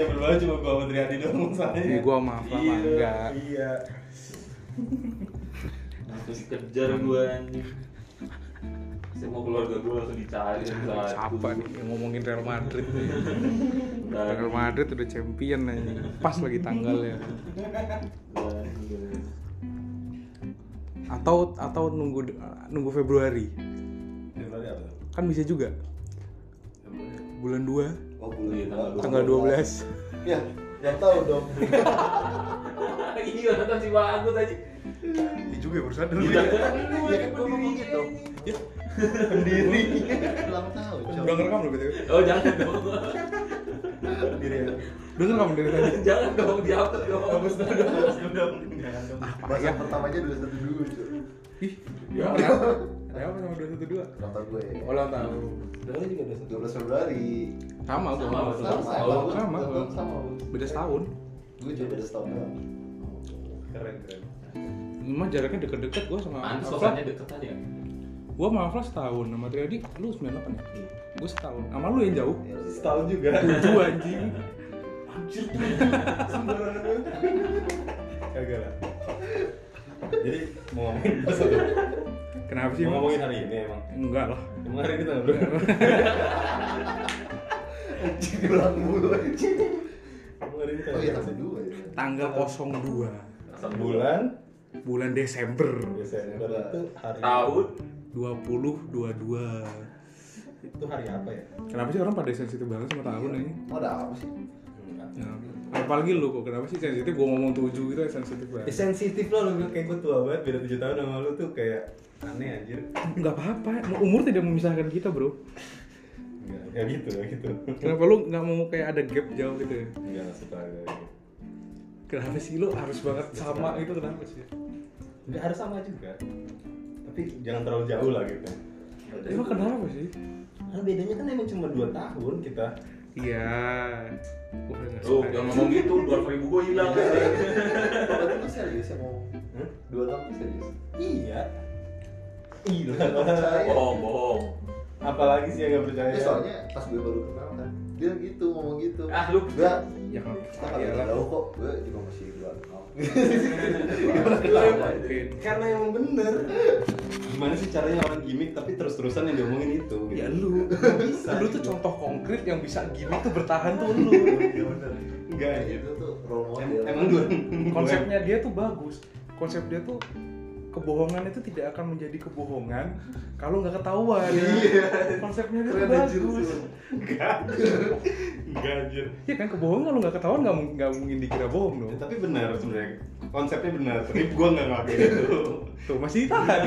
Ya berdua cuma gua sama Triadi doang masalahnya. Ih, gua sama Afla mah Iya, enggak. Iya. Terus kejar gue anjing Semua keluarga gue langsung dicari satu. Capek nih yang ngomongin Real Madrid. Dan- Real Madrid udah champion anjing. Pas lagi tanggalnya. dan- Atau atau nunggu nunggu Februari. Februari apa? tuh? Kan bisa juga. Februari. Bulan 2 Oh, Iya, bulan tanggal tanggal 12. Ya, udah tahu dong. Iya nonton si bagus aja Iya juga ya, baru sadar. Iya Iya. kan Iya, kan gua ngomong gitu. Sendiri. Ulang tahun. Cok. Udah ngerekam loh BTW. Oh jangan dong Sendiri ya. Udah ngerekam dari tadi. Jangan dong dihapus dong Bagus dong. Bagus dong. Jangan dong. Bahasa pertama aja dua satu dulu. Cok. Ih, Ya. ada apa? Ada apa sama 212? Ulang tahun gue. Oh, ulang tahun. Dulu juga ada 12 Februari. Sama gua. Sama, sama. sama. Sama, Sama, Bang. sama. Bang, sama. Beda setahun. Gue juga beda setahun doang. Keren keren. Emang jaraknya deket-deket gua sama Pantes Afla. kosannya deket aja kan? Gua sama Afla setahun sama Triadi lu 98 ya? Gua setahun. Sama lu yang jauh. Ya, udah. Setahun juga. Tujuh anjing. Anjir Sembarangan. Kagak lah. Jadi mau ngomongin apa sih? Kenapa sih? Mau Bang? ngomongin hari ini emang. Enggak lah. Emang hari ini tanggal Iya. berapa? Anjing, diulang mulu anjing. Emang hari ini Oh tanggal iya, berapa tanggal sih? dua ya. Tanggal 02 Bulan bulan Desember Desember itu hari Tahun 2022. itu hari apa ya? Kenapa sih orang pada sensitif banget sama tahun ini? Mau ada apa sih? Hmm. Nah, apalagi lu kok kenapa sih sensitif gua ngomong tujuh gitu ya sensitif Ya, banget. sensitif lah lu bilang kayak gue tua banget beda 7 tahun sama lu tuh kayak aneh anjir. Enggak apa-apa, umur tidak memisahkan kita, Bro. Enggak, enggak gitu, enggak gitu. Kenapa lu nggak mau kayak ada gap jauh gitu ya? Enggak enggak suka enggak gitu. Kenapa sih lu harus banget sama itu kenapa sih? Enggak harus sama juga. Tapi jangan terlalu jauh lah gitu. Emang kenapa sih? Karena bedanya kan emang cuma 2 tahun kita. Iya. Gua nggak Tuh suka. jangan ngomong gitu 200 ribu gue hilang Berarti lu serius ya mau Hah? dua tahun tuh serius? Iya. Nggak Iya. percaya. Bohong bohong Apalagi sih yang enggak percaya. Ya, soalnya pas gue baru kenal kan dia gitu ngomong gitu Ah, lu- enggak Ya, nggak kita percaya kagak lah. tahu kok gue juga masih dua Iya, kenal Kenapa? karena emang bener. Gimana sih caranya orang gimmick tapi terus-terusan yang diomongin itu? Ya gitu? lu, lu tuh contoh konkret yang bisa gini tuh bertahan tuh lu. iya bener Enggak Kayak ya. gitu tuh role Em- model Emang gue Konsepnya dia tuh bagus. Konsep dia tuh kebohongan itu tidak akan menjadi kebohongan kalau nggak ketahuan. Konsepnya dia tuh Iya. keren anjir bagus. tuh. enggak. Enggak anjir. Iya kan kebohongan kalau nggak ketahuan nggak mung- nggak mungkin dikira bohong Ya, dong. tapi benar sebenarnya. Konsepnya benar, tapi gue nggak ngelakuin itu. Tuh masih ditahan.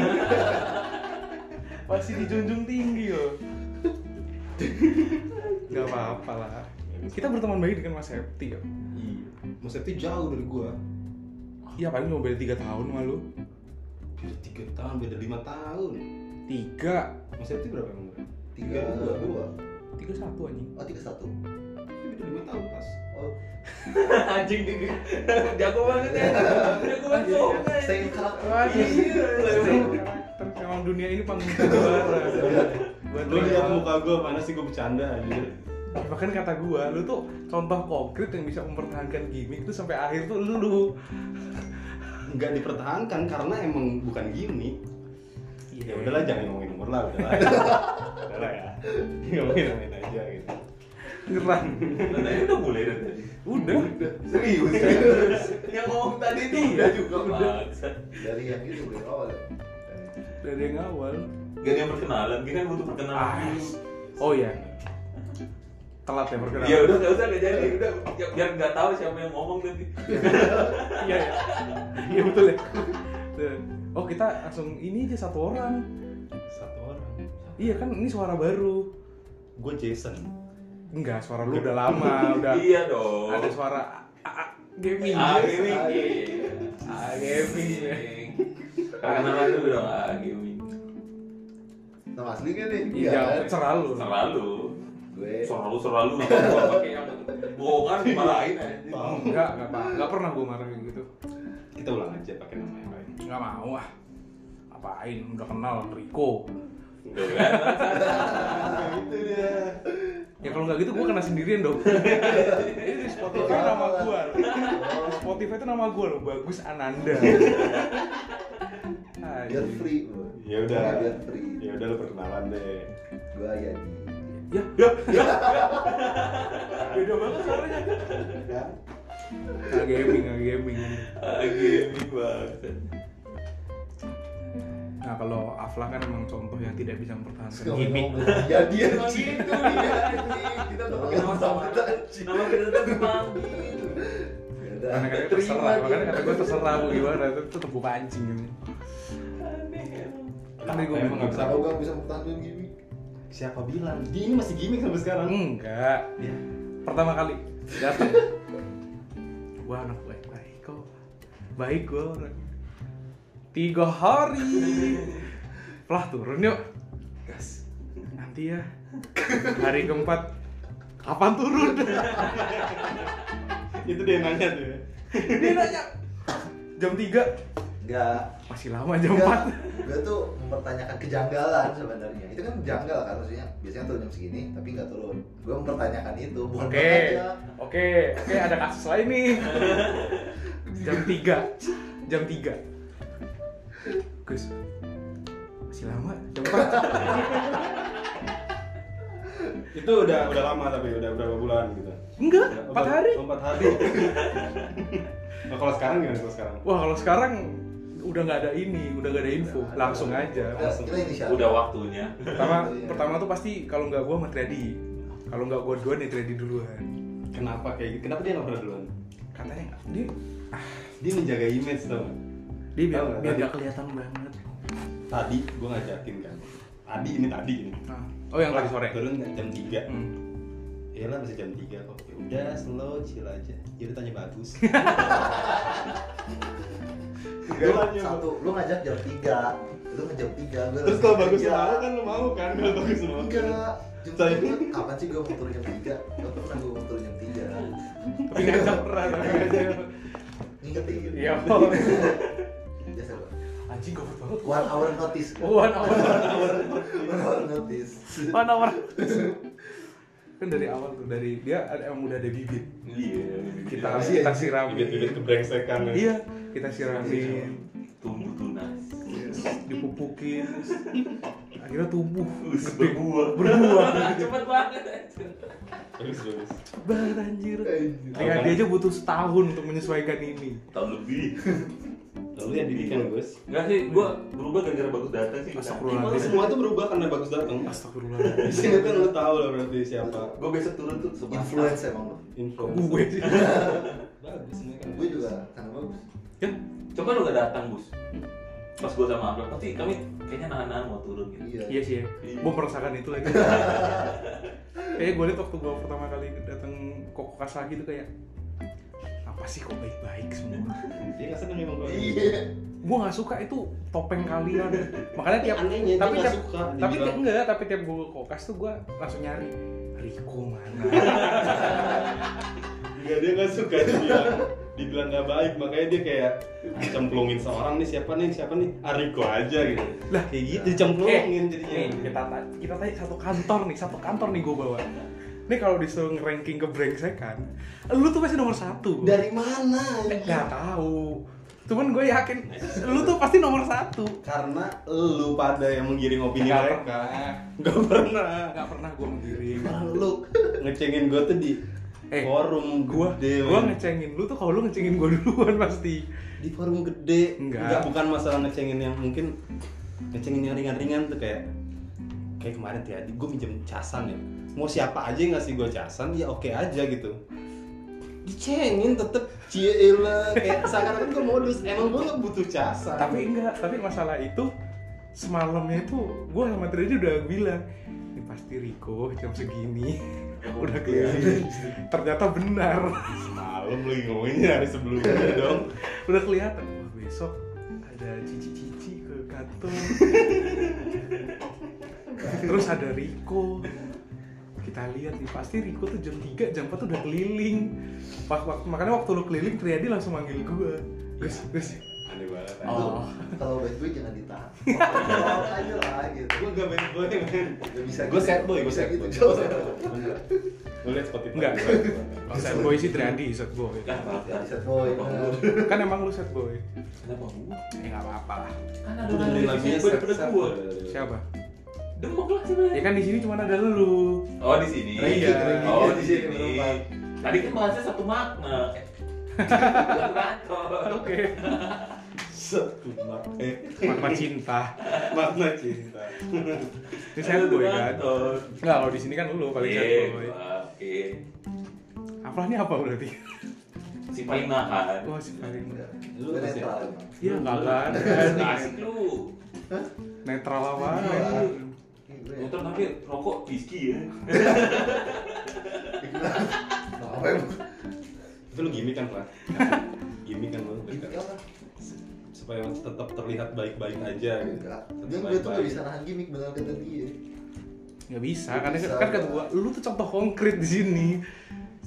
masih dijunjung tinggi loh. Gak apa-apa lah. Kita berteman baik dengan Mas Septi ya. Iya. Mas Septi jauh dari gue. Iya paling cuma beda tiga tahun sama lu. Beda tiga tahun, beda lima tahun. Tiga. Mas Septi berapa emang? umurnya? tiga dua Tiga satu anjing. oh tiga satu Iya, Beda lima tahun pas. oh Anjing nih Jago banget ya Jago banget ya. Iya, bohong iya, same karakter Iya, Emang dunia ini panggung juara. Buat Lu lihat muka gue mana sih gue bercanda anjir. Bahkan kata gua, lu tuh contoh konkret yang bisa mempertahankan gimmick tuh sampai akhir tuh lu. Nggak dipertahankan karena emang bukan gini. Ya udahlah jangan ngomongin umur lah, udahlah. udahlah ya. Ngomongin ngomongin aja gitu. Nyerang. Tadi udah mulai dari tadi Udah. serius Yang ngomong tadi itu udah Iya juga Bangsa dari yang itu dari awal ya Dari yang awal. Gak ada yang perkenalan Gini kan butuh perkenalan Oh iya. Telat ya perkenalan. Iya. Ya udah gak usah gak jadi udah ya, biar nggak tahu siapa yang ngomong nanti. Iya. ya. Iya betul ya. Tuh. Oh kita langsung ini aja satu orang. Satu orang. Iya kan ini suara baru. Gue Jason. Enggak, suara lu udah lama, udah. Iya dong. Ada suara A- Oh. A- gaming. Ah, gaming. iya. Ah, gaming. Perkenalan dulu dong ah gaming. nama asli kan nih Iya, jawab serah lu. Selalu. gue Selalu selalu nggak apa pakai yang bohongan dimarahin aja. Enggak, enggak, apa- enggak pernah gua marah kayak gitu. Kita ulang aja pakai nama yang lain. Enggak mau ah. Apain udah kenal Riko. Tuh kan. Nah, itu dia. Ya kalau nggak gitu gue kena sendirian dong. Ini di Spotify nama gue. Spotify itu nama gue loh, bagus Ananda. biar Anjing. free gua. Ya udah. biar free Ya udah lu perkenalan deh. gua ya di Ya, ya, ya. Beda banget suaranya. Nggak gaming, nggak gaming. Gaming Ah, banget. Nah kalau Afla kan emang contoh yang tidak bisa mempertahankan Gak gimmick. mau ngomong. ya dia Emang anjing. gitu dia. Anjing, kita udah pakai Nama sama sama nama kita tetap panggil. Karena kadang terserah, makanya kata gue terserah gue gimana, itu tetep gue pancing Kan gitu. Aneh emang. Tapi gue Emang memang nggak bisa. Kenapa gak bisa mempertahankan gimmick? Siapa bilang? Dia ini masih gimmick sampai sekarang. Enggak. Ya. Pertama kali datang. Wah anak baik-baik kok. Baik gue orang. Tiga hari. Pelah turun yuk. Gas. Nanti ya. Hari keempat. Kapan turun? Itu dia yang nanya tuh. ya. Dia nanya. Jam 3. Enggak Masih lama Iya. jam 4. Gue tuh mempertanyakan kejanggalan sebenarnya. Itu kan janggal kan maksudnya. Biasanya turun jam segini tapi nggak turun. Gue mempertanyakan itu. Bukan ya. Oke, bertanya. oke, oke ada kasus lain nih. jam 3. Jam 3. Gus. Masih lama jam 4. Itu udah udah lama tapi udah berapa bulan gitu. Enggak, Ya, 4 hari. Oh, Empat hari. nah, kalau sekarang gimana kalau sekarang? Wah, kalau sekarang udah nggak ada ini, udah nggak ada info, Nggak ada. langsung aja. Kita, kita Nah, inisial. Udah waktunya. Pertama, Iya. pertama tuh pasti kalau nggak gua sama Tredi. Kalau nggak gua duluan ya Tredi duluan. Kenapa kayak gitu? Kenapa dia nggak pernah duluan? Katanya nggak- dia Dia menjaga image tau nggak? dia biar, Tahu nggak, biar tadi? nggak kelihatan banget. Tadi gue ngajakin kan. Tadi ini tadi ini. Nah, Oh, yang tadi sore. Turun nggak jam 3 Hmm. Ya lah masih jam 3 kok. Ya udah slow chill aja. Ya udah tanya bagus. Lu Gak tanya satu. Lu ngajak jam tiga. Lu ngajak tiga. Gua Terus langsung kalau bagus tiga. mau kan lu mau kan kalau bagus mau. Enggak. Jam Sorry. tiga. Kapan sih gue mau turun jam tiga? Gak pernah gue mau turun jam tiga. Tapi ngajak pernah. Ingetin. Iya. Biasa gua. Anjing gabut banget. One hour notice. Oh, one hour, one hour, One hour notice. one hour. kan dari awal tuh dari dia ada- emang udah ada bibit. Iya. Kita Iya, kita iya. sirami. Bibit-bibit kebrengsekan. ya. Iya, kita sirami, Tumbuh tunas. dipupukin, akhirnya tumbuh, Us, gede, berbuah. berbuah, Cepet banget anjir. Bagus bagus. banget anjir. Anjir. Kayak dia aja butuh setahun untuk menyesuaikan ini. Tahun lebih. Lalu ya didikan Gus. Enggak sih, gua berubah gara-gara bagus datang sih. Nah, Emang Astagfirullahaladzim. semua tuh berubah karena bagus datang. Astagfirullahaladzim. Di sini kan lu tahu lah berarti siapa Gua besok turun tuh sebelah. Influence emang lu. influencer. Gue sih. Bagus ini kan. Gue juga karena bagus. Ya, Kan? Coba lu gak datang, Bus. Hmm. Pas gua sama Abdul, pasti kami kayaknya nahan-nahan mau turun gitu. Iya. Iya sih ya. Iya. Gue merasakan itu lagi. kayak gue liat waktu gue pertama kali datang kok kas lagi tuh kayak apa sih kok baik-baik semua. Dia kasar kan memang Iya. gue nggak suka itu topeng kalian. Makanya tiap Anehnya, dia tapi nggak tiap suka, dia tapi bilang. tiap- enggak tapi tiap gue kokas tuh gue langsung nyari Riko mana. Enggak dia nggak suka dia bilang dibilang nggak baik makanya dia kayak cemplungin seorang nih siapa nih siapa nih Ariko aja gitu Lah, kayak gitu dicemplungin jadinya Nih, kita ta- kita tanya satu kantor nih, satu kantor nih gue bawa. Nih kalau disuruh ngeranking ke brengsekan, lu tuh pasti nomor satu. Dari mana? anjing? Gak tahu. Cuman gue yakin lu tuh pasti nomor satu. karena lu pada yang menggiring opini Nggak mereka nggak pernah Gak pernah gue menggiring. lu ngecengin gue tuh di Eh, forum Gue gede gue men. ngecengin lu tuh kalau lu ngecengin gue duluan pasti. di forum gede Enggak. bukan masalah ngecengin yang mungkin ngecengin yang ringan-ringan tuh kayak kayak kemarin tuh ya gue minjem casan ya mau siapa aja yang ngasih gue casan ya oke aja gitu dicengin tetep cie lah kayak seakan-akan gue modus emang gue gak butuh casan Tapi enggak, tapi masalah itu semalamnya itu gue sama Tredi udah bilang ini pasti Riko jam segini udah kelihatan ternyata benar semalam lu ngomongnya hari sebelumnya dong udah kelihatan wah besok ada cici-cici ke kantor terus ada Riko kita lihat nih pasti Riko tuh jam 3 jam 4 udah Iya. keliling Pak- pak- makanya waktu lu keliling Triadi langsung manggil gua Gus Gus aneh banget Itu, Oh. kalau bad boy jangan ditahan Orang aja lah gitu gue gak bad boy men Gak bisa gue sad Nah, boy gue bisa sad boy gitu gue Jo. sad boy. Lu liat Spotify Enggak. gua. Kalau sad boy sih Triandi Oh, set boy. Kan Ya, apa? bisa boy Kenapa bener. gua? Kan emang lu set boy. Kenapa gua? Ya enggak apa-apa lah. Kan ada Tuh, orang beli yang lagunya lebih sad, daripada sad gua. boy. Siapa? Demok lah Ya sebenarnya. kan di sini cuma ada lu. Oh di sini. Iya. Oh di Di sini, sini. berempat. Tadi kan bahasnya satu makna. Satu makna. Oke. Satu mak- eh, Makna cinta. makna cinta Ini sad boy kan. Kantor. Enggak, kalau di sini kan lu paling sad Iya, boy. gua, Oke. Apalagi apa berarti? Si kan. paling nahan. Wah, Oh, si paling Lu masih- Gua netral emang. Iya, enggak kan. Asik lu. Netral apa? Netral. Ih, gua ya. Motor tapi rokok whisky ya. Nah, apa emang? itu lu gimmick kan lah gimmick kan lu Gitu apa? supaya tetap terlihat baik-baik aja gitu Enggak. Tetap Iya. Dia gue tuh gak baik-baik. bisa nahan gimmick bener kata dia Nggak bisa, Nggak karena bisa, kan kata Bang. gua, lu tuh contoh konkret di sini.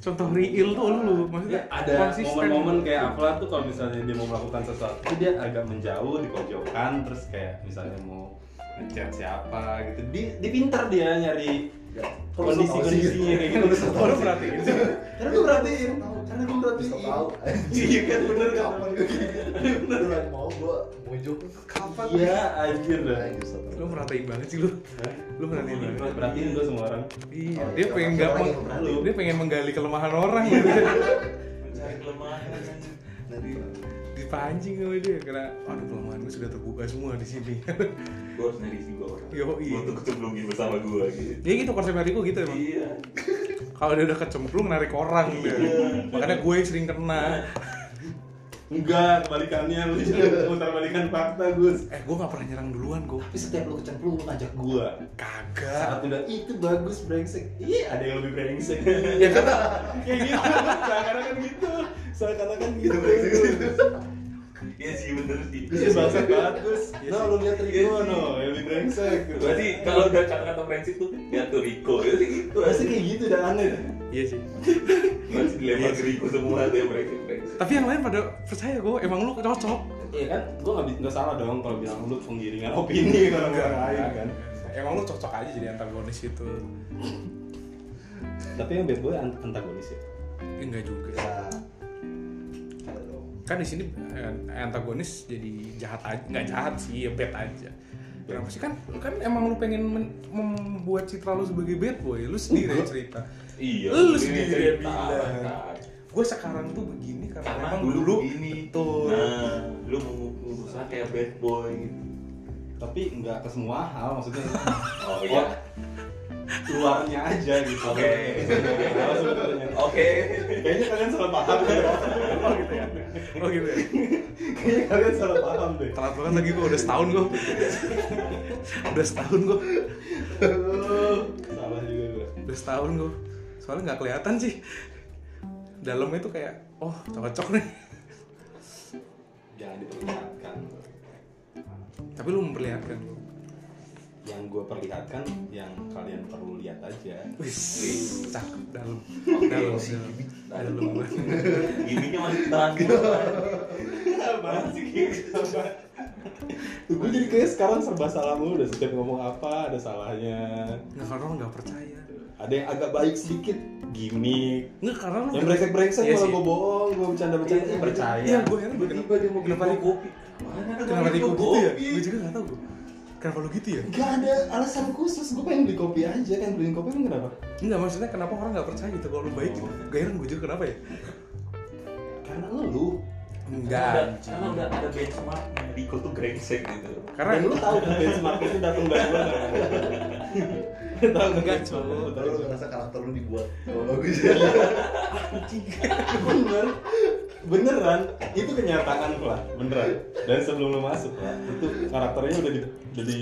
Contoh real tuh lu, Dia maksudnya Iya, ada konsisten. momen-momen kayak Afla tuh kalau misalnya dia mau melakukan sesuatu kan? dia agak menjauh di pojokan terus kayak misalnya mau ngechat siapa gitu dia, dia pintar dia nyari Ya, kalau kondisi lu tahu sih, kondisinya kayak Kalau lu gitu tahu Oh, lu sih. perhatiin sih. karena gue perhatiin karena gue Bisa perhatiin tahu. iya kan bener kan Kapan gue gini? Lu lagi mau gue muncul kapan? iya anjir dah Nah, gitu, satu. Lu merhatiin banget sih lu. Lu merhatiin Iya. banget. perhatiin gue semua orang Iya, Oh, dia iya, pengen orang nggak lagi meng- memperhatiin. dia pengen menggali kelemahan orang gitu. Mencari kelemahan. anjing. Nanti- Dipancing sama dia karena aduh kelemahan gue sudah terbuka semua di sini. Gue harus nyari juga orang. Yoi. Untuk kecemplungin bersama gue gitu. Dia gitu konsep Rico gitu emang. Iya. Kalau dia udah kecemplung narik orang dia. Makanya gue yang sering kena. enggak kebalikannya lu jangan putar balikan fakta Gus Eh, gue nggak pernah nyerang duluan gue. tapi setiap lu kecemplung lu ngajak gue Kagak. saat udah itu bagus brengsek iya ada yang lebih brengsek Ya karena kayak gitu seakan kan gitu seakan kan gitu Iya sih bener sih. Gus ya bangsat banget Gus Iya no sih. lu lihat Iya Rico sih. no yang lebih brengsek gitu Berarti kalau udah kata-kata prinsip tuh ya tuh Riko ya sih gitu. pasti kayak gitu udah aneh iya sih. Masih dilempar ke Riko semua tuh yang prinsip prinsip. Tapi yang lain pada percaya gue, emang lu cocok. iya kan gua nggak bi- nggak salah dong kalau bilang lu penggiringan opini kalau Iya. orang lain kan Iya Emang lu cocok aja jadi antagonis gitu. itu. tapi yang bad boy an- antagonis ya Eh, enggak juga. Ya. Ada dong. Kan di sini eh, antagonis jadi jahat aja, nggak jahat sih, ya bad aja. Kenapa sih kan kan emang lu pengen men- membuat citra lu sebagai bad boy, lu sendiri yang cerita. Iya. Lu ini sendiri yang cerita, bilang. kan. Gue sekarang tuh begini karena, Karena emang dulu dulu, begini. betul. Nah, lu mau berusaha kayak bad boy gitu. tapi nggak ke semua hal maksudnya Oh iya. luarnya aja gitu Oke. Nggak sebenarnya. Oke. kayaknya kalian salah paham deh Oh gitu ya. Oh gitu ya. kayaknya kalian salah paham deh Telat banget lagi gue udah setahun gue. udah setahun gue. salah juga gua udah setahun gue soalnya nggak kelihatan sih dalamnya tuh kayak oh cocok nih jangan diperlihatkan tapi lu memperlihatkan gue yang gue perlihatkan yang kalian perlu lihat aja wis cakep dalam Oke. dalam dalam dalam banget. Gimiknya kan masih ditahan dulu. Apaan sih gitu gue jadi kayak sekarang serba salah mulu udah setiap ngomong apa ada salahnya nggak karena orang nggak percaya ada yang agak baik sedikit gimmick nggak karena lu yang brengsek brengsek Iya kalau sih. gue bohong gue bercanda bercanda Iya, percaya iya gue heran gue Tiba-tiba dia mau kenapa bikin dia- kopi. Mana ada kenapa dia kopi gitu ya kopi? gue juga nggak tahu gue kenapa lu gitu ya Gak ada alasan khusus, gue pengen beli kopi aja kan beliin kopi emang kenapa? Enggak maksudnya kenapa orang nggak percaya gitu kalau lu baik Oh. Gue heran gue juga kenapa ya Karena lu enggak Karena udah- anjing. Karena udah ada benchmark Riko tuh grengsek gitu. karena dan lu tahu kan benchmark itu datang dari gue Lu tahu kan Enggak, benchmark cuy. itu Kalau dari lu gua. ngerasa karakter lu dibuat oh, bagus ya. bener beneran itu kenyataan lah beneran dan sebelum lu masuk lah itu karakternya udah di udah di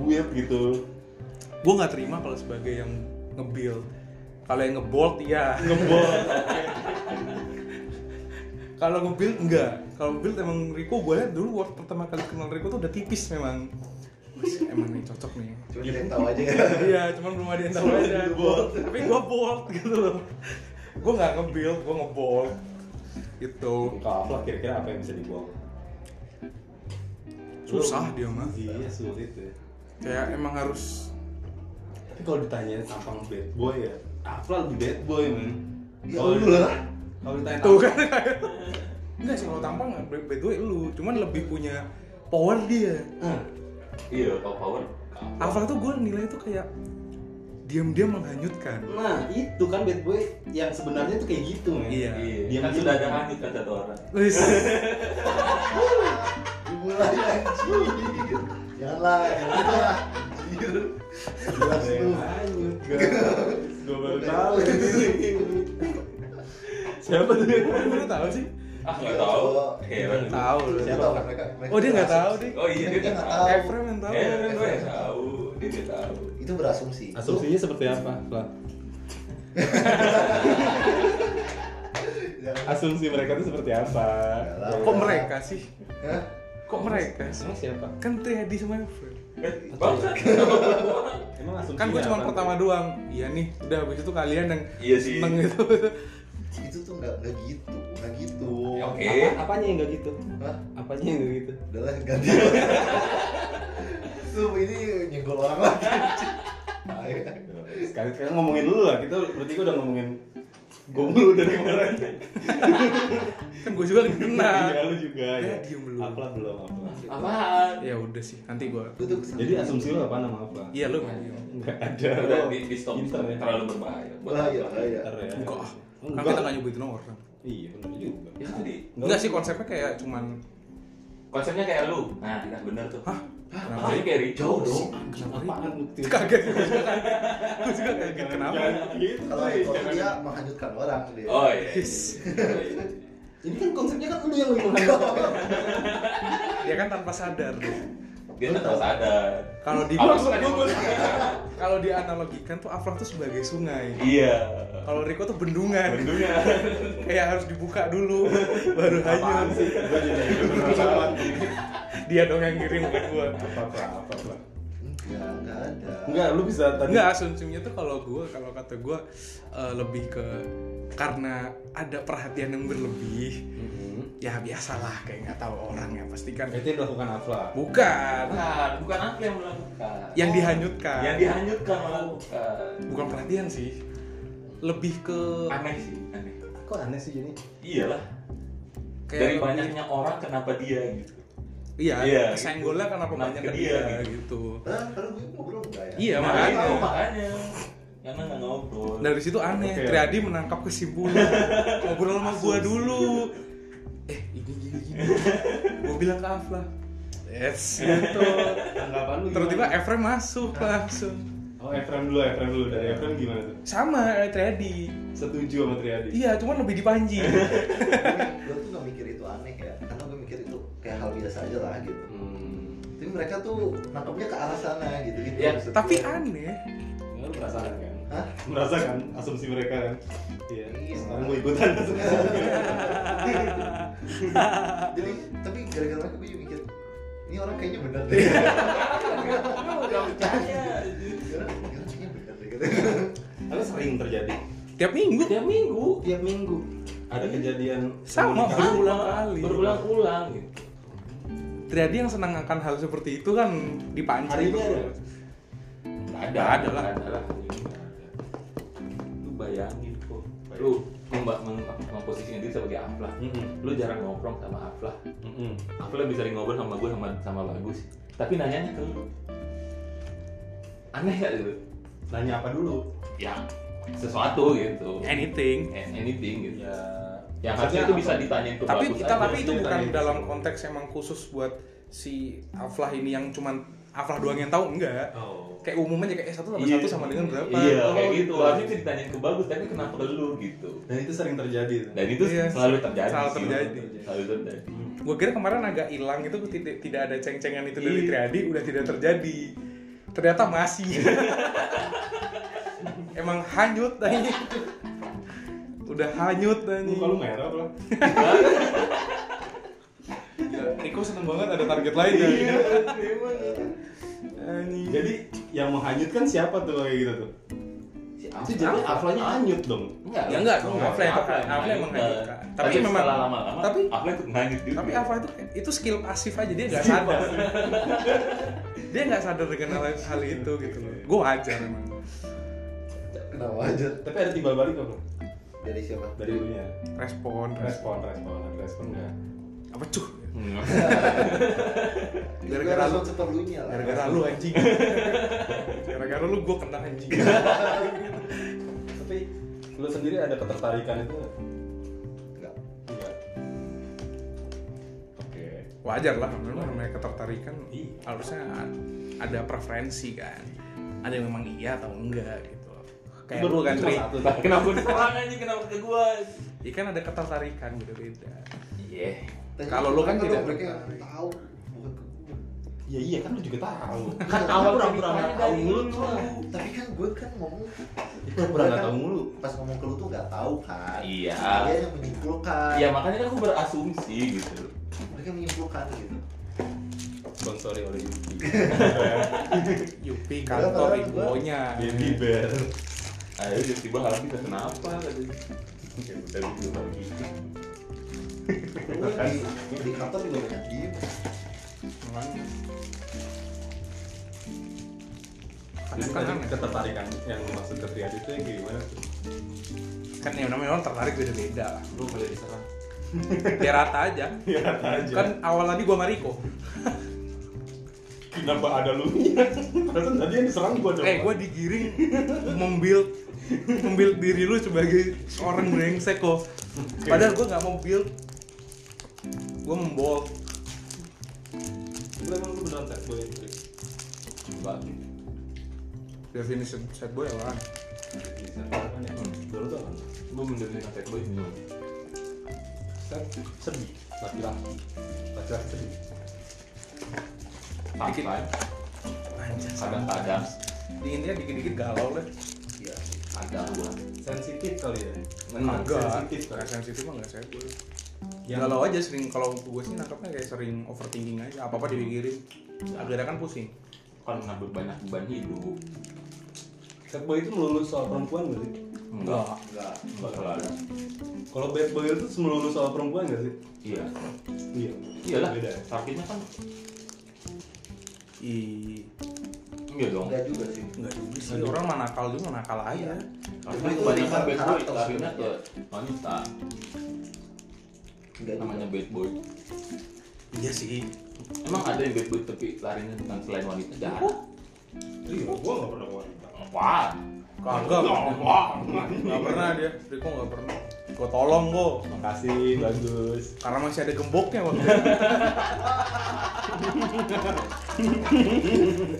build gitu gue nggak terima kalau sebagai yang ngebuild kalau yang ngebolt iya ngebol kalau ngebuild enggak kalau build emang Rico gue liat dulu waktu pertama kali kenal Rico tuh udah tipis memang Wih, emang nih cocok nih Cuma kita yang tahu aja ya. iya cuman belum ada yang tahu Cuma aja di bold. tapi gue bold gitu loh gue nggak ngebuild gue ngebolt gitu kalau aku lah kira-kira apa yang bisa dibuang susah dia mah Iya sulit ya. kayak emang harus Tapi kalau ditanya tampang bad boy ya, Afla lebih bad boy men. Iya, Kalau lu ditanya- lah. Kalau ditanya tuh tampang- kan enggak sih kalau tampang nggak bad bad boy lu cuman lebih punya power dia Hah, Iya, kalau power. Alpha tuh gue nilai tuh kayak diam-diam menghanyutkan Nah itu kan bad boy yang sebenarnya tuh kayak gitu men. Iya. Iya, Diam kan diam. sudah ada hanyut kan satu orang. Wis. Mulai anjir. Iya Janganlah, janganlah. Anjir. Jelas Ada yang tuh. hanyut guys. Gue baru tahu ini. Siapa tuh yang Lu udah tahu sih? Ah, nggak tahu. Oh. Heran. Tahu lu. Dia tahu kan mereka? mereka Oh dia nggak tahu berasumsi. deh. Oh iya, dia Dia nggak nggak tahu. tahu. Efrem yang tahu. Heran, gue nggak tahu. Dia nggak tahu. Itu berasumsi. Asumsinya seperti apa? Fla? Jangan. Asumsi mereka tuh seperti apa? Enggak lah. Kok mereka sih? Ya. Kok mereka sih? Emang siapa? Kan Triadi sama Efrem. Eh, bangsat. Kenapa gua orang? Emang asumsinya Kan gue cuma apa? pertama doang. Iya nih. Udah habis itu kalian yang Iya sih. seneng gitu. Itu tuh nggak nggak gitu, nggak gitu. Ya, Oke. Apa, apanya yang gak gitu? Hah? Apanya yang gak gitu? Udahlah ganti. Tuh ini nyenggol orang lagi. Tai. Sekali sekali ngomongin dulu lah, kita berarti udah ngomongin gombel dari kemarin. Kan gue juga kenal. Iya, lu juga Ya, ya. diem belum. Apa belum apa? Apaan? Ya udah sih. Nanti gue. Lu tuh Jadi asumsi lu apa nama apa? Iya lu maju. Enggak ada. Udah Lu di, di stop, pinter ya. terlalu berbahaya. Buat bahaya, apa? bahaya. Pinter ya. Enggak. ah. Kan Enggak. kita nggak nyebutin orang. Iya, benar juga. Ya tadi Enggak sih konsepnya kayak cuman. konsepnya kayak lu. Nah, nah bener tuh. Hah? Kenapa? Konsepnya kayak Rico. Jauh dong. Apaan bukti? Kaget. Gue juga kaget. Kenapa? Gitu. Kalau kalau dia menghanyutkan orang dia. Oh iya. Yes. Oh, iya. Ini kan konsepnya kan lu yang lebih menghargai. Ya kan tanpa sadar. Dia tanpa sadar. Kalau di Aku suka gugur. kalau dianalogikan tuh Afrak tuh sebagai sungai. Iya. Kalau Riko tuh bendungan. Bentuknya. Kayak harus dibuka dulu baru Apaan hanyut. sih? Gua jadi penasaran. Dia dong yang ngirim ke gua. Apa apa apa. apa. Enggak, enggak ada. Enggak, lu bisa tadi. Enggak asumsinya tuh kalau gua kalau kata gua eh, lebih ke karena ada perhatian yang berlebih. Mhm. Ya biasalah kayak nggak tahu orang ya pastikan. Itu yang dilakukan Afla. Bukan Bukan, bukan aku yang melakukan. yang dihanyutkan. Oh. Yang dihanyutkan melakukan. Bukan perhatian sih. Lebih ke Aneh sih, aneh. Kok aneh sih jadi? Iyalah. kayak Dari lebih- banyaknya orang kenapa dia gitu. Iya, Iya, senggolnya senggolnya gitu. kenapa Kenapa banyak ke ke dia, dia, gitu. gitu. Padahal padahal gue ngobrol enggak ya? Iya, Nah, makanya. itu, makanya. Karena nggak ngobrol. Dari situ aneh, Oke. Triadi menangkap kesimpulan. Ngobrol sama gua dulu. Iya. Eh, ini gini gini. gua bilang ke Afla. Yes, gitu. Tanggapan lu Tiba-tiba Efrem masuk langsung. Oh, Efrem dulu, Efrem dulu. Dari Efrem gimana tuh? Sama eh, Triadi. Setuju sama Triadi? Iya, cuman lebih dipanji. Gue tuh nggak mikir itu aneh ya, karena gue mikir itu kayak hal biasa aja lah gitu. Hmm. Tapi mereka tuh nangkepnya ke arah sana gitu gitu. Ya, maksud Tapi gue. aneh. Ya, lu merasakan kan? Hah? Merasakan asumsi mereka kan? Iya. Iya. Sekarang gue ikutan asumsi. Jadi tapi gara-gara mereka gue juga mikir ini orang kayaknya bener deh. Nggak percaya. Gara-gara kayaknya bener deh. gitu. Tapi sering terjadi. Tiap minggu Tiap minggu Tiap minggu ada kejadian Sama, komunikasi. berulang kali. Berulang-ulang gitu. Triadi yang senang akan hal seperti itu kan dipanji. Hari ini gitu. ada? Nggak Nggak ada lah. nggak ada lah. Lu bayangin kok. Lu memba- mem- memposisikan diri sebagai aflah. Mm-mm. Lu jarang ngobrol sama aflah. Mm-mm. Aku lebih sering ngobrol sama gue sama sama bagus. Tapi nanyanya ke lu. Aneh gak gitu? Nanya apa dulu? Ya sesuatu gitu. Anything. And anything gitu. Ya. Yang harusnya itu bisa apa? ditanyain ke tapi bagus. kita aja. tapi itu Jadi bukan tanya- dalam konteks emang khusus buat si Aflah ini yang cuman Aflah doang yang tahu enggak Oh. kayak umumnya kayak eh, satu tambah Iya. satu sama dengan berapa Iya, Oh, kayak gitu. gitu. Harusnya bisa ditanyain ke bagus, tapi kenapa ke lu gitu? Dan itu sering terjadi. Dan itu Iya, selalu terjadi. selalu sih. terjadi. Selalu terjadi. gue kira kemarin agak hilang itu tidak tidak ada ceng-cengan itu dari Iya. Triadi udah tidak terjadi ternyata masih emang hanyut aja udah hanyut aja Muka lu merah bro. Ya, Riko seneng banget ada target lain ya memang. Anjing. Jadi yang menghanyutkan siapa tuh kayak gitu tuh? Si itu jadi aflanya anyut dong Enggak. Ya enggak, Enggak, Afla itu Afla yang Afla emang menganyut, hanyut, Kak. eh, Tapi memang setelah lama-lama tapi Afla itu nganyut juga. tapi Afla itu itu skill pasif aja dia nggak sadar. dia nggak sadar dengan hal, hal itu gitu loh. Gue wajar emang. Kenapa aja? tapi ada timbal balik apa Dari siapa? dari dulunya Respon, respon. respon respon ada respon nggak Apa cuh? Hmm. Gara-gara lu seperlunya lah. Gara-gara lu anjing. Gara-gara lu gue kena anjing. tapi lu sendiri ada ketertarikan itu nggak? Enggak. nggak oke Wajar lah, memang namanya ketertarikan harusnya ada preferensi kan. Ada yang memang iya atau enggak gitu. loh. Eh, Kayak lu kan Tri, Cuma satu. Lah, kenapa diserang aja kenapa ke gua? ya kan ada ketertarikan beda-beda. Iya. Tanya Kalau lu kan kenapa tidak dong, mereka tertarik. tahu bukan ke gua. ya iya kan lu juga tahu Kan Iya, awal ceritanya tahu dari mulu lu. tuh Tapi kan gue kan ngomong kan pura nggak tahu mulu pas ngomong ke lu tuh nggak tahu kan. Iya. Dia yang menyimpulkan. Ya makanya kan aku berasumsi gitu. Mereka menyimpulkan gitu. bang sorry oleh Yuki Yupi Padahal- kantor padahal gua- ibunya. Iya, baby bear Ayo tiba-tiba harus bisa kenapa katanya. Ya udah gitu lagi. Lu kan di, di kantor juga banyak diem. Memang. Terus tadi Kadang- kadang- ketertarikan yang maksud ke Triadi itu yang kayak gimana tuh? kan yang namanya orang tertarik beda-beda lah Lu boleh diserang. biar rata aja Ya aja. kan awal tadi gua sama Riko kenapa ada lu nya? Padahal tadi yang diserang gua coba. eh gua digiring membuild membuild diri lu sebagai seorang brengsek kok padahal gua nggak mau build gua membold Lu emang lu beneran sad boy yang trik. Enggak. definisi sad boy apaan Jadi sad boy apaan ya? Dulu tuh apa? Gua mendengar kata gua ini. Sad sedih. Laki-laki. Laki-laki sedih. Dikit. anjir Kadang-kadang di intinya dikit-dikit galau lah Iya. ada gua. Sensitif kali ya. Menang. agak sensitif kan? nggak sensitif mah nggak sad boy Yang- galau aja sering kalau gua sih nangkapnya kayak sering overthinking aja apa apa dipikirin akhirnya kan pusing Kan ngambil banyak beban hidup. Sad boy itu melulu soal perempuan gak sih? Enggak. Enggak. Enggak selalu. Kalau bad boy itu melulu soal perempuan gak sih? Iya. Iya. Iyalah. Beda. Sakitnya kan Ih, iya dong. Enggak juga sih. Enggak juga Iya. sih, orang mana nakal juga mana nakal aja. Karena Itu kebanyakan lebih bad boy karakter larinya ke sebenarnya. wanita. Enggak juga. Namanya bad boy. Iya sih. Emang ada yang bad boy tapi larinya bukan selain wanita jarang. Iya, gua gak pernah wanita. Wah. Kagak. Enggak pernah dia. Riko enggak pernah. Gua tolong gua. Makasih, bagus. Karena masih ada gemboknya waktu itu.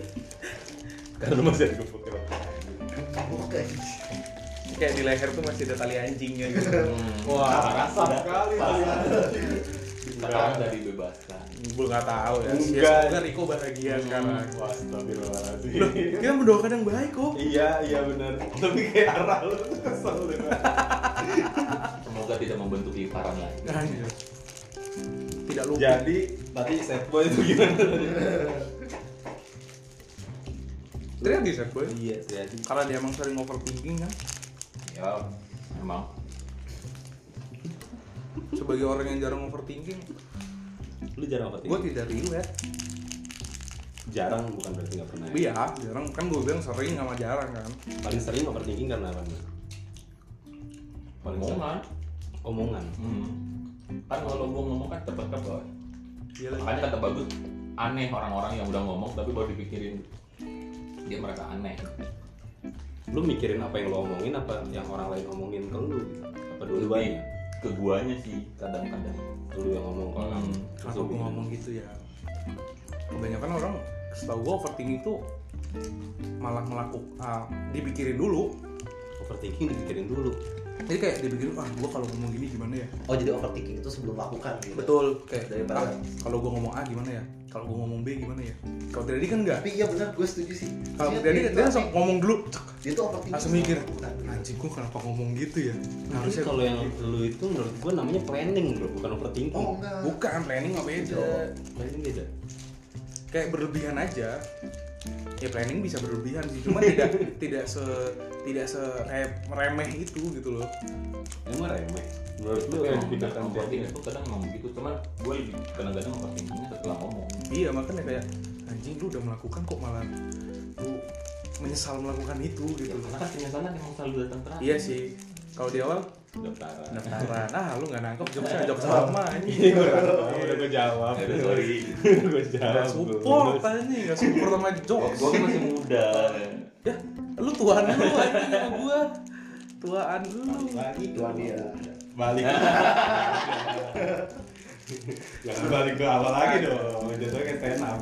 Karena lu masih ada gembok ya. Bukan. Kayak di leher tuh masih ada tali anjingnya gitu. Wah, kasar sekali. Sekarang udah dibebaskan. Gue nggak tahu ya. Enggak. Iya. Ya, Semoga Riko bahagia sekarang. Wah, astagfirullahaladzim. Loh, kita mendoakan yang baik kok. Iya, iya benar. Tapi kayak arah lu tuh kesel deh. Semoga tidak membentuk lingkaran lagi. Anjir. Tidak lupa. Jadi, tadi set boy itu gimana? Terlihat di set boy. Iya, jadi. Karena dia emang sering overthinking kan. Ya, emang. Sebagai orang yang jarang overthinking, Lu jarang apa gue tidak relate. Jarang bukan berarti nggak pernah. ya? Iya, jarang kan gue bilang sering sama jarang kan. Paling sering overthinking karena apa? nih? Paling sering Omongan. omongan. Hmm. Kan kalau gua ngomong kan cepet ke bawah. Iya Makanya kata bagus aneh orang-orang yang udah ngomong tapi baru dipikirin dia merasa aneh. Lu mikirin apa yang lu omongin apa yang orang lain omongin ke lu gitu. Apa Lebih dua-duanya? ke guanya sih kadang-kadang. Lu yang ngomong ke orang. Hmm. Terus Kenapa lu gue mikirin. ngomong gitu ya? Kebanyakan orang, setahu gue overthinking tuh malah melakukan, dipikirin dulu. Overthinking dipikirin dulu. Jadi kayak dipikirin, ah gue kalau ngomong gini gimana ya? Oh jadi overthinking itu sebelum lakukan gitu. Betul, kayak Daripada- ah kalau gue ngomong A gimana ya? Kalau gue ngomong B gimana ya? Kalau Dedi kan enggak. Tapi iya benar gue setuju sih. Kalau Maksudnya Dedi dia- dia langsung ngomong dulu, cek, dia tuh overthinking. langsung mikir, sebelum lakukan, gitu. anjing gue kenapa ngomong gitu ya? Harusnya Harusnya kalau yang lu itu menurut gua namanya planning bro, bukan overthinking. Oh enggak. bukan planning apa beda. Planning beda. Kayak berlebihan aja. ya planning bisa berlebihan sih cuma tidak tidak se tidak se kayak remeh itu gitu loh emang remeh menurut lu Itu yang emang dipindahkan overthinking itu kadang emang begitu cuman gue lebih kadang-kadang overthinkingnya setelah ngomong iya makanya kayak anjing lu udah melakukan kok malah lu menyesal melakukan itu ya, gitu loh karena kan penyesalan emang selalu datang terakhir iya sih kalau di awal daftaran pendaftaran ah lu nggak nangkep jokesnya jokes lama anjing udah Iya. gue jawab ya udah sorry gue nggak jawab support anjing nggak support sama jokes gue kan masih muda ya lu tuaan lu anjing sama gua tuaan lu lagi tuan dia balik jangan balik ke awal lagi dong jatuhnya kayak stand up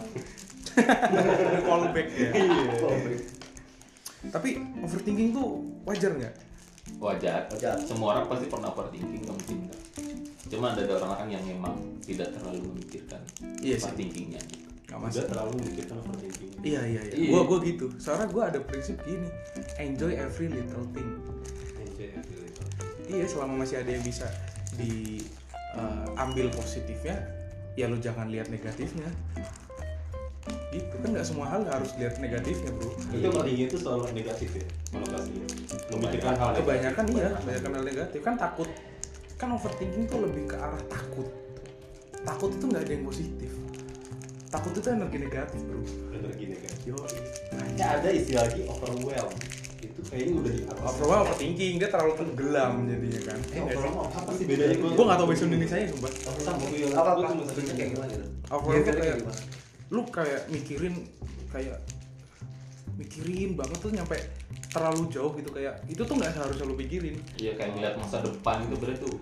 callback ya Oh, Iya. tapi overthinking tuh wajar nggak wajar Wajar. semua orang pasti pernah overthinking nggak mungkin nggak. cuma ada orang-orang yang memang tidak terlalu memikirkan Iya sih. overthinkingnya gitu. nggak udah masalah terlalu memikirkan overthinking Iya iya iya. Iya. Gua gua gitu. Soalnya gua ada prinsip gini, enjoy every little thing. Iya, selama masih ada yang bisa diambil positifnya, ya lu jangan lihat negatifnya. Gitu kan nggak semua hal harus lihat negatifnya, Bro. itu overthinking itu selalu negatif ya konotasinya memikirkan hal negatif. Kebanyakan iya, kebanyakan hal negatif kan takut. Kan overthinking tuh lebih ke arah takut. Takut itu nggak ada yang positif. Takut itu energi negatif, Bro. energi negatif Yo. Ya, ada istilah lagi overwhelm itu kayaknya udah di Overwhelm overthinking dia terlalu tenggelam jadinya kan. eh Iya nggak sih? overwhelm apa sih bedanya gue gue gak tau bahasa Indonesia nya sumpah sama gue gue apa apa cuma maksudnya kayak gimana gitu Overwhelm Kira-kira kayak- kayak gimana? lu kayak mikirin kayak mikirin banget tuh nyampe terlalu jauh gitu kayak itu tuh nggak seharusnya lu pikirin iya kayak ngeliat masa depan itu berarti tuh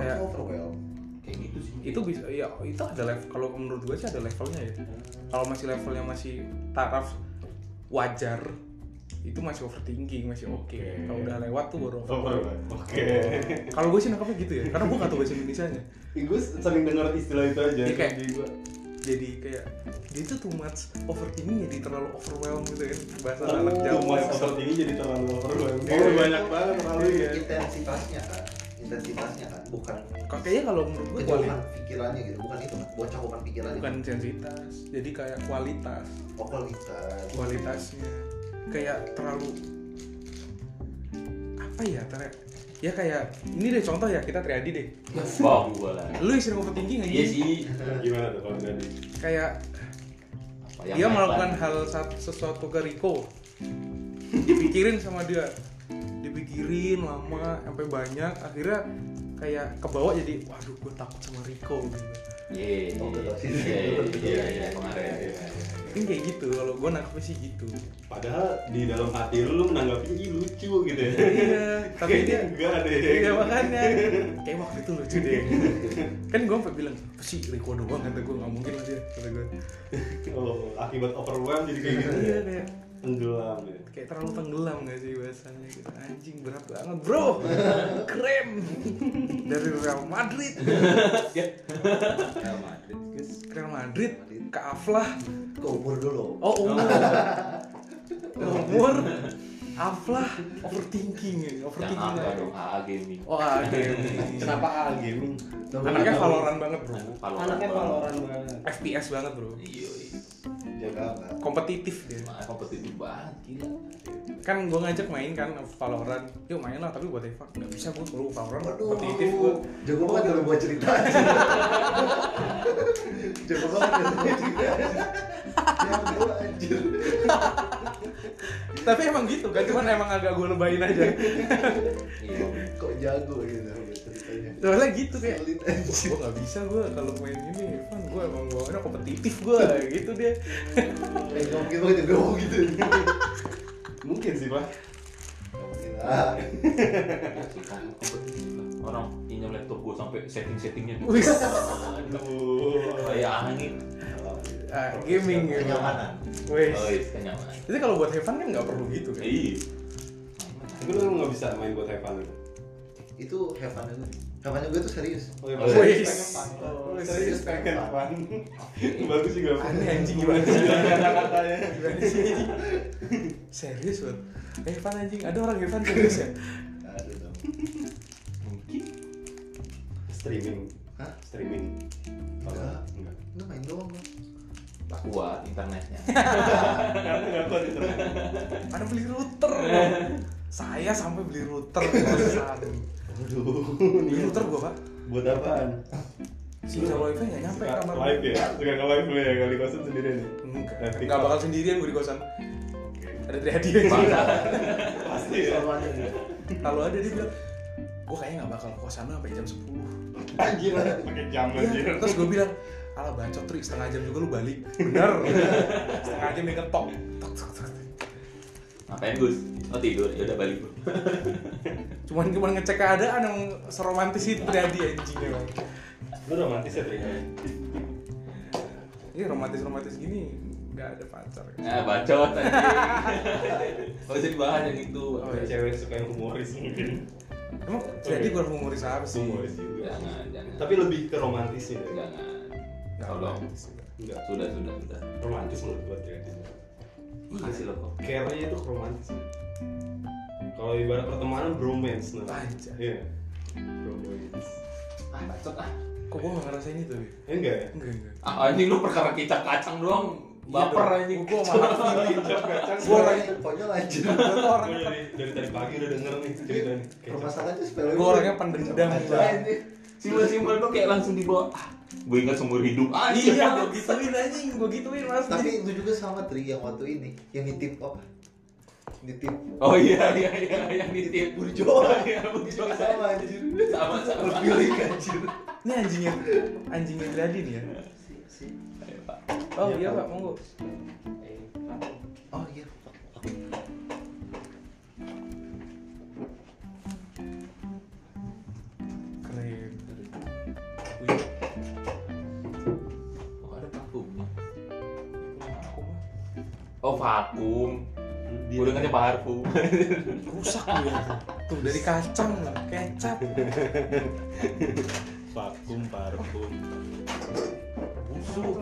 kayak Oh, overwhelm kayak gitu sih itu bisa ya itu ada level kalau menurut gue sih ada levelnya ya kalau masih levelnya masih taraf wajar itu masih overthinking masih oke Oke. kalau udah lewat tuh baru overwhelm. overwhelm oke kalau gue sih nangkepnya gitu ya karena gue gak tau bahasa Indonesia nya gue sering dengar istilah itu aja Iya, kayak- jadi gue jadi kayak dia tuh too much overthinking jadi terlalu overwhelmed gitu kan bahasa Oh, anak Jawa Mas overthinking jadi terlalu Oh, overwhelm Iya. Terlalu banyak banget terlalu ya intensitasnya kan intensitasnya kan bukan Kayaknya kalau menurut gue kejauhan pikirannya gitu bukan itu bukan cakupan pikirannya bukan intensitas, jadi kayak kualitas, oh kualitas kualitasnya kayak terlalu apa ya ter ya kayak ini deh contoh ya kita triadi deh wow gue lah lu sering overthinking aja iya sih gimana tuh kalau tadi kayak Apa yang dia naik melakukan lagi? hal sat- sesuatu ke Riko dipikirin sama dia dipikirin lama sampai banyak akhirnya kayak kebawa jadi waduh gue takut sama Riko gitu Yeay. Oh, betul. Yeay, iya iya kemarin iya. mungkin kayak gitu kalau gue nangkepnya sih gitu padahal di dalam hati lu lu menanggapi ini lucu gitu ya iya Kayaknya tapi dia enggak deh Iya makanya Kayak waktu itu lucu deh Kan gue sampe bilang Apa sih Riko doang kata gue Gak mungkin lah dia Kata gue oh akibat overwhelm jadi kayak gitu Iya ya kayak tenggelam ya Kayak terlalu tenggelam gak sih bahasanya gitu Anjing berat banget bro Keren Dari Real Madrid Real Madrid guys Real Madrid Ke Aflah ke umur dulu Oh umur Umur Aflah Overthinking ya, yang Overthinking apa aja. dong AA gaming Oh ada kenapa A gaming Anaknya Valorant banget bro Valorant anaknya banget. Valorant banget FPS banget bro iya iya. jaga nggak Kompetitif dia Malah kompetitif banget gila kan gue ngajak main kan Valorant yuk main lah tapi buat Eva nggak bisa gue perlu Valorant kompetitif gue jago banget dalam buat cerita jago banget dalam buat cerita jago anjir tapi emang gitu kan cuman emang agak gue lebayin aja iya kok jago gitu buat ceritanya Eh, soalnya gitu kayak Sulit, anjir. gue nggak bisa gue kalau main ini Evan gue emang bawaannya kompetitif gue gitu dia eh nggak mungkin banget jago gitu mungkin sih pak ah Iya sih, kan kompetitif lah. orang pinjam laptop gue sampai setting-settingnya gitu Wih. kayak angin Ah, gaming ya kenyamanan wes oh iya kenyamanan jadi kalau buat Evan kan nggak perlu gitu kan iya tapi lu nggak bisa main buat have fun itu itu heaven gue heaven gue tuh serius Oh, iya, Oh, Pak. Pengen iya. fun. Oh, iya. serius pengen fun. Bagus juga. Pak. Aneh, anjing, Iya. gimana sih? Kata-katanya. Gimana sih? serius buat Evan anjing ada orang Evan serius ya aduh dong mungkin Streaming. Hah? Streaming. Enggak. Enggak. lu main doang kok aku kuat internetnya Karena nggak kuat gitu. Ada beli router. saya sampai beli router kosan. Aduh, Beli niat. router gua, Pak. buat apaan? Sinyal wifi nggak nyampe Suka kamar. live ya? Suka nge-live lu ya kali kosan sendirian ya? Enggak, Live enggak TikTok. bakal sendirian gua di kosan. Ada dari hadiah Pasti ya. Selamanya dia. Kalau ada dia bilang, gua kayaknya nggak bakal ke kosan lu sampai jam 10 Anjir, pakai jam anjir. Iya. Terus gua bilang, ala bacot tri setengah jam juga lu balik. Bener. setengah jam dia ketok. Tok, tok, tok, tok. ngapain Gus oh tidur ya udah balik Bro. Cuman cuman ngecek keadaan yang seromantis itu terjadi anjing emang. Lu romantis ya, Tri? Ini Iya, romantis-romantis gini nggak ada pacar. nah bacot aja nggak usah dibahas yang itu Oh, iya. Cewek suka yang humoris mungkin. Emang jadi gua humoris apa sih? Humoris juga. jangan jangan Iya, Tapi lebih ke romantis ya. jangan Nggak tolong romantis juga. Enggak, sudah sudah sudah romantis menurut gua Iya. Tri. makasih loh kok care-nya itu romantis ya. kalau ibarat pertemanan bromance nah Anjay. iya bromance ah bacot ah Kok gua nggak ngerasain itu ya? eh, enggak ya Enggak enggak. ah anjing lu perkara kicak kacang doang baper anjing Iya, Gua malah Gua orang itu konyol anjir. gua tuh Gua orang dari, Iya, dari tadi pagi udah denger nih cerita nih Kecap. Permasalahannya sepele. Gua orangnya pendendam, Bang. simbol-simbol tuh kayak langsung dibawa ah gue ingat seumur hidup ah Iya, gua gituin anjing, gua gituin mas. Tapi itu juga sama Tri yang waktu ini yang nitip apa? Nitip oh iya iya iya yang nitip Burjo. iya burjo Itu sama anjir. sama sama Pilih anjir. Ini anjingnya, anjingnya jadi nih ya. Ayo, Eh, Pak. Eh, Oh Iya, iya Pak. pak, monggo. Oh iya. Keren. oh ada vakumnya oh vakum gue dengannya parfum Rusak gue. Tuh dari kacang, kecap. vakum parfum busuk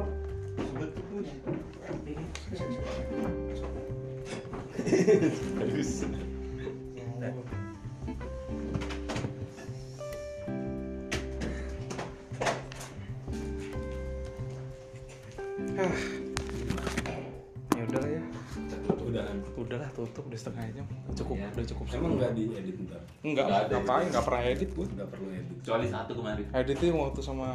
halus Ya udah lah ya, udah kan udah lah tutup udah setengah jam. Cukup, Iya. udah cukup. emang nggak diedit ntar Enggak, Nggak ada ya? ngapain? itu. Enggak pernah edit gua. nggak perlu edit kecuali satu kemarin Editnya waktu sama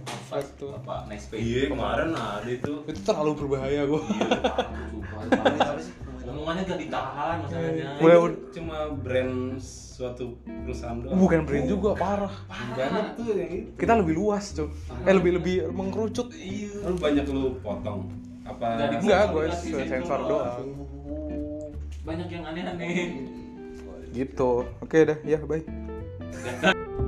apa Fred tuh. apa next page Iya, iya kemarin ada itu Itu terlalu berbahaya gua. Ngomongin apa sih? Ngomongin apa? Omongannya gak ditahan masalahnya. Gue Itu ud- cuma brand suatu perusahaan doang Bukan brand juga, parah. banyak Oh, tuh yang itu Kita lebih luas, Cok. Eh lebih lebih mengkerucut. Iya. lu banyak lu potong Nggak apa di- Enggak, gue Dikasih sensor sensor doang. doang. Banyak yang aneh-aneh. Gitu. Oke dah, ya, bye.